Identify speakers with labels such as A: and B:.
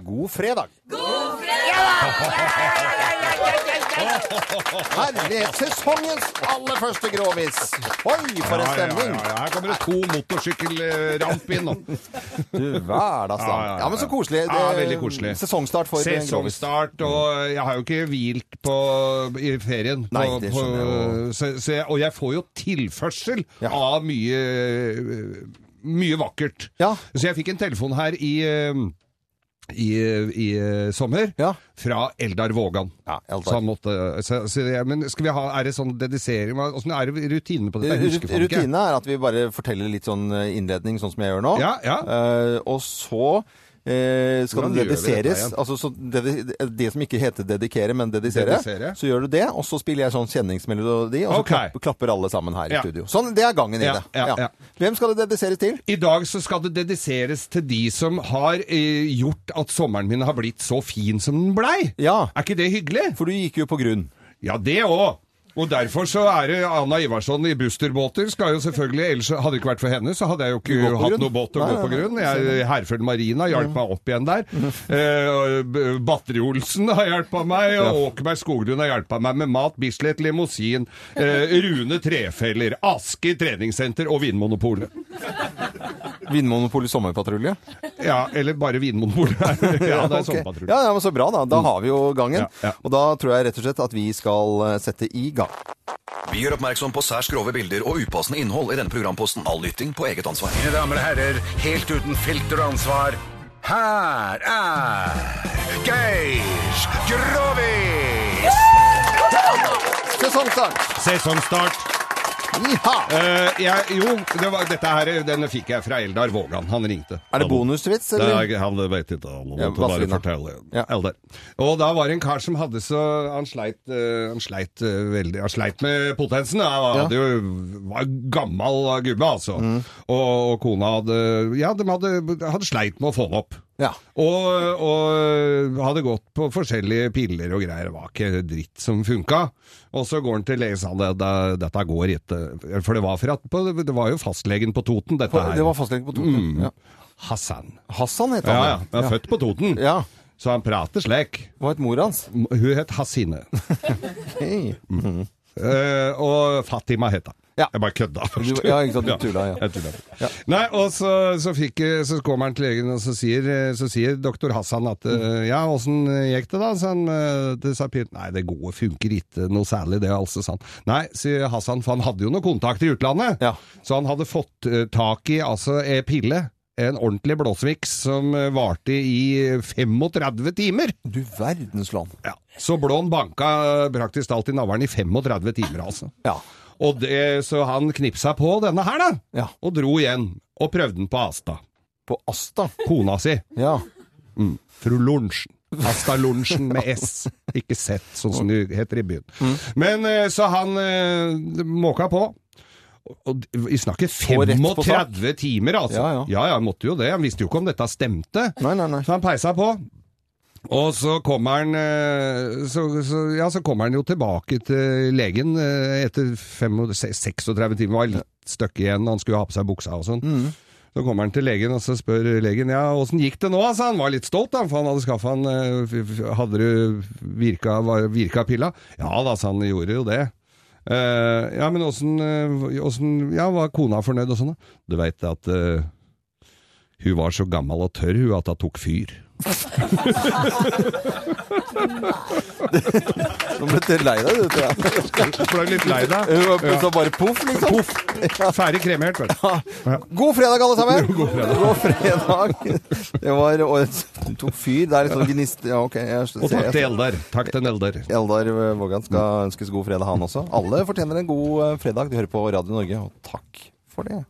A: god fredag. Herlighet, sesongens aller første grovis. Oi, for en stemning.
B: Ja, ja, ja. Her kommer det to motorsykkelramp inn nå.
A: Du hverdagsdag.
B: Ja, ja, ja,
A: Ja, men så koselig.
B: Ja, veldig koselig.
A: Sesongstart for eh, en grovis.
B: Sesongstart, og jeg har jo ikke hvilt på, i ferien. På,
A: Nei, det skjønner jeg
B: på, så, så jeg, og jeg får jo tilførsel
A: Ja.
B: av mye øh, mye vakkert.
A: Ja.
B: Så jeg fikk en telefon her i øh, i, i øh, sommer
A: Ja.
B: fra Eldar Vågan.
A: Ja, Eldar.
B: Så han måtte, så, så jeg, men skal vi ha, er det sånn dedisering? Hva- Åssen er det rutinene på dette? Jeg husker
A: Rut-
B: faen ikke.
A: Rutine er at vi bare forteller litt sånn innledning, sånn som jeg gjør nå.
B: Ja, ja.
A: Eh, og så eh, skal
B: Hvordan
A: det
B: gjør vi dette
A: dediseres.
B: igjen?
A: Altså, så dedi det som ikke heter dedikere, men dedisere.
B: Dedisere.
A: Så gjør du det, og så spiller jeg sånn kjenningsmelodi, og så
B: Ok.
A: klapp, klapper alle sammen her i
B: Ja.
A: studio. Sånn, det er gangen i
B: Ja,
A: det.
B: ja, ja.
A: Hvem skal det dediseres til?
B: I dag så skal det dediseres til de som har eh, gjort at sommeren min har blitt så fin som den blei.
A: Ja.
B: Er ikke det hyggelig?
A: For du gikk jo på grunn.
B: Ja, det òg. Og derfor så er det Anna Ivarsson i Busterbåter. Skal jo selvfølgelig, ellers Hadde det ikke vært for henne, så hadde jeg jo ikke
A: på
B: hatt
A: grunn.
B: noe båt å
A: Nei,
B: gå på
A: nei, Mhm.
B: grunn. Jeg, Herføl Marina hjalp meg opp igjen der. Eh, B- Batteri Olsen har hjulpet meg, og Åkeberg Skoglund har hjulpet meg med mat. Bislett Limousin, eh, Rune Trefeller, Asker treningssenter og Vinmonopolet.
A: Vinmonopolet sommerpatrulje.
B: Ja, eller bare Vinmonopolet. ja, det er
A: Ok.
B: sånn patrulje.
A: ja, ja, men så bra, da. Da har vi jo gangen.
B: Ja, ja.
A: Og da tror jeg rett og slett at vi skal eh, sette i gang.
C: Vi gjør oppmerksom på særs grove bilder og upassende innhold i denne programposten. All lytting på eget ansvar.
D: Mine damer og herrer, helt uten filter og ansvar, her er Geir Grovis!
A: Sesongstart!
B: Sesongstart.
A: Iha!
B: Eh, jeg, jo, det var, dette her, denne fikk jeg fra Eldar Vågan. Han ringte.
A: Er det bonusvits,
B: Det
A: eller?
B: er, han vet ikke. Han
A: Ja,
B: måtte bare
A: Vazelina.
B: fortelle.
A: Ja.
B: Eldar. Og da var det en kar som hadde så Han sleit, eh, han sleit eh, veldig Han sleit med potensen. da. Han hadde jo, var gammal gubbe, altså.
A: Mm.
B: Og, og kona hadde Ja, de hadde, hadde sleit med å få han opp.
A: Ja.
B: Og, og hadde gått på forskjellige piller og greier. Det var ikke dritt som funka. Og så går han til legen og sa det, det- dette går ikke. For det var, for at, på, det var jo fastlegen på Toten, dette
A: For-
B: her.
A: Det var fastlegen på Toten. Ja.
B: Hassan.
A: Hassan het
B: Mm. Ja,
A: han.
B: ja. Han er født på Toten.
A: Ja.
B: Så han prater slik.
A: Hva het mor hans?
B: M- Hun het Hasine.
A: Hei.
B: Eh, og Fatima het hun.
A: Ja.
B: Jeg bare kødda først.
A: Du- ja, ikke sant, du tulla, ja.
B: Jeg tulla. Nei, og så, så, fikk, jeg- så kommer han til legen, og så sier, så sier doktor Hassan at
A: Mm.
B: eh, Ja, åssen gikk det, da? sa han eh, til Sapir. Nei, det gode funker ikke noe særlig, det, altså, sa han. Nei, sier Hassan, for han hadde jo noen kontakter i utlandet.
A: Ja.
B: Så han hadde fått eh, tak i altså ei pille. En ordentlig blåsviks som eh, varte i 35 timer.
A: Du verdens land.
B: Ja. Så Blån banka eh, praktisk talt i navlen i 35 timer, altså.
A: Ja.
B: Og det, så han knipsa på denne her, da.
A: Ja.
B: Og dro igjen. Og prøvde den på Asta.
A: På Asta.
B: Kona si.
A: Ja.
B: Fru Lundsen. Asta Lundsen med S. Ikke Z, sånn som det heter i byen.
A: Mm.
B: Men eh, så han eh, måka på. Og d- vi snakker
A: Så rett på sak.
B: 35 timer, altså.
A: Ja, ja.
B: ja, han måtte jo det. Han visste jo ikke om dette stemte.
A: Nei, nei, nei.
B: Så han peisa på. Og så kommer han eh, så, så, Ja, så kommer han jo tilbake til legen eh, etter fem og- se- 36 timer. Det var litt støkk igjen, han skulle ha på seg buksa og sånn. Så kommer han til legen, og så spør legen ja, åssen gikk det nå? Altså, han var litt stolt, da, for han hadde skaffa han eh, f- f- Hadde du virka, var- virka pilla? Ja da, så han gjorde jo det. Eh, ja, men åssen eh, åssen- Ja, var kona fornøyd og sånn, da? Du veit at eh, hun var så gammel og tørr hun at hun tok fyr.
A: Nå ble du lei deg, du, tror jeg.
B: Ble litt lei deg.
A: Hun var- Så bare poff, liksom.
B: Poff. Ferdig kremert, vet du.
A: God fredag, alle sammen!
B: God fredag.
A: God fredag. Det var årets tok fyr. Det er litt sånn gnist... Ja, OK. Jeg
B: Og takk
A: ser
B: til Eldar. Takk til Eldar.
A: Eldar Vågan skal ønskes god fredag, han også. Alle fortjener en god eh, fredag. Du hører på Radio Norge, og takk for det.